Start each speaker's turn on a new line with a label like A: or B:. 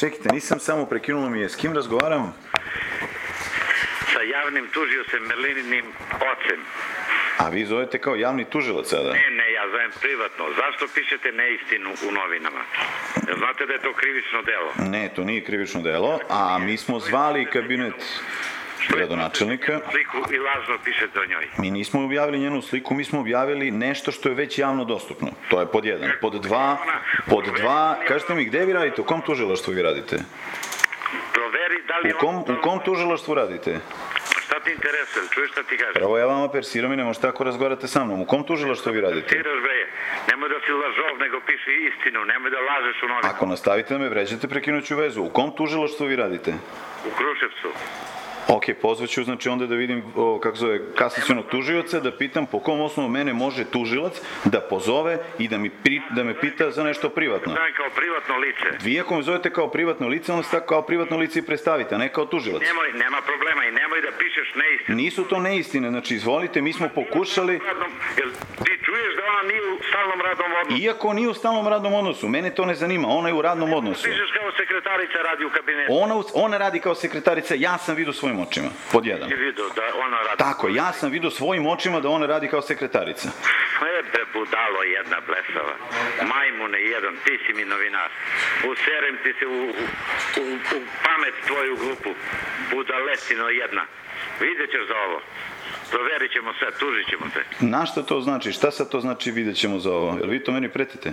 A: Čekajte, nisam samo prekinulo mi je. S kim razgovaram?
B: sa javnim tužiocem Melininim ocem.
A: A vi zovete kao javni tužilac sada?
B: Ne, ne, ja zovem privatno. Zašto pišete neistinu u novinama? Jel znate da je to krivično delo?
A: Ne, to nije krivično delo, a mi smo zvali kabinet gradonačelnika.
B: Sliku i lažno pišete o njoj.
A: Mi nismo objavili njenu sliku, mi smo objavili nešto što je već javno dostupno. To je pod jedan. Pod dva, pod dva, kažete mi gde vi radite, u kom tužilaštvu vi radite?
B: Proveri da li...
A: U kom, u kom tužilaštvu radite?
B: Pa Šta ti interesuje? Čuješ šta ti kažem?
A: Prvo ja vama persiram i ne možete tako razgovarate sa mnom. U kom tužilaštvu vi radite?
B: Tiraš bre, nemoj da si lažov, nego piši istinu, nemoj da lažeš u novinama.
A: Ako nastavite da me vređate, prekinuću vezu. U kom tužilaštvu vi radite?
B: U Kruševcu.
A: Da. Ok, pozvaću znači onda da vidim o, kako zove kasacionog tužioca, da pitam po kom osnovu mene može tužilac da pozove i da, mi pri, da me pita za nešto privatno.
B: Zovem kao privatno lice.
A: Vi ako me zovete kao privatno lice, onda se tako kao privatno lice i predstavite, a ne kao tužilac.
B: Nemoj, nema problema i nemoj da pišeš neistinu.
A: Nisu to neistine, znači izvolite, mi smo pokušali,
B: Radnom- Jel ti čuješ da ona nije u stalnom radnom odnosu?
A: iako nije u stalnom radnom odnosu, mene to ne zanima, ona je u radnom odnosu.
B: Pišeš kao sekretarica radi u kabinetu.
A: Ona, u- ona radi kao sekretarica, ja sam vidio svojim očima, pod jedan.
B: Ti vidio da ona radi.
A: Tako, ja sam vidio svojim očima da ona radi kao sekretarica.
B: Ebe budalo jedna blesava. Majmune jedan, ti si mi novinar. Userem ti se u, u, u, u pamet tvoju glupu. Budaletino jedna. Vidjet ćeš za ovo. Proverit ćemo sve, tužit ćemo te.
A: Na šta to znači? Šta sad to znači? Vidjet ćemo za ovo. Jel vi to meni pretite?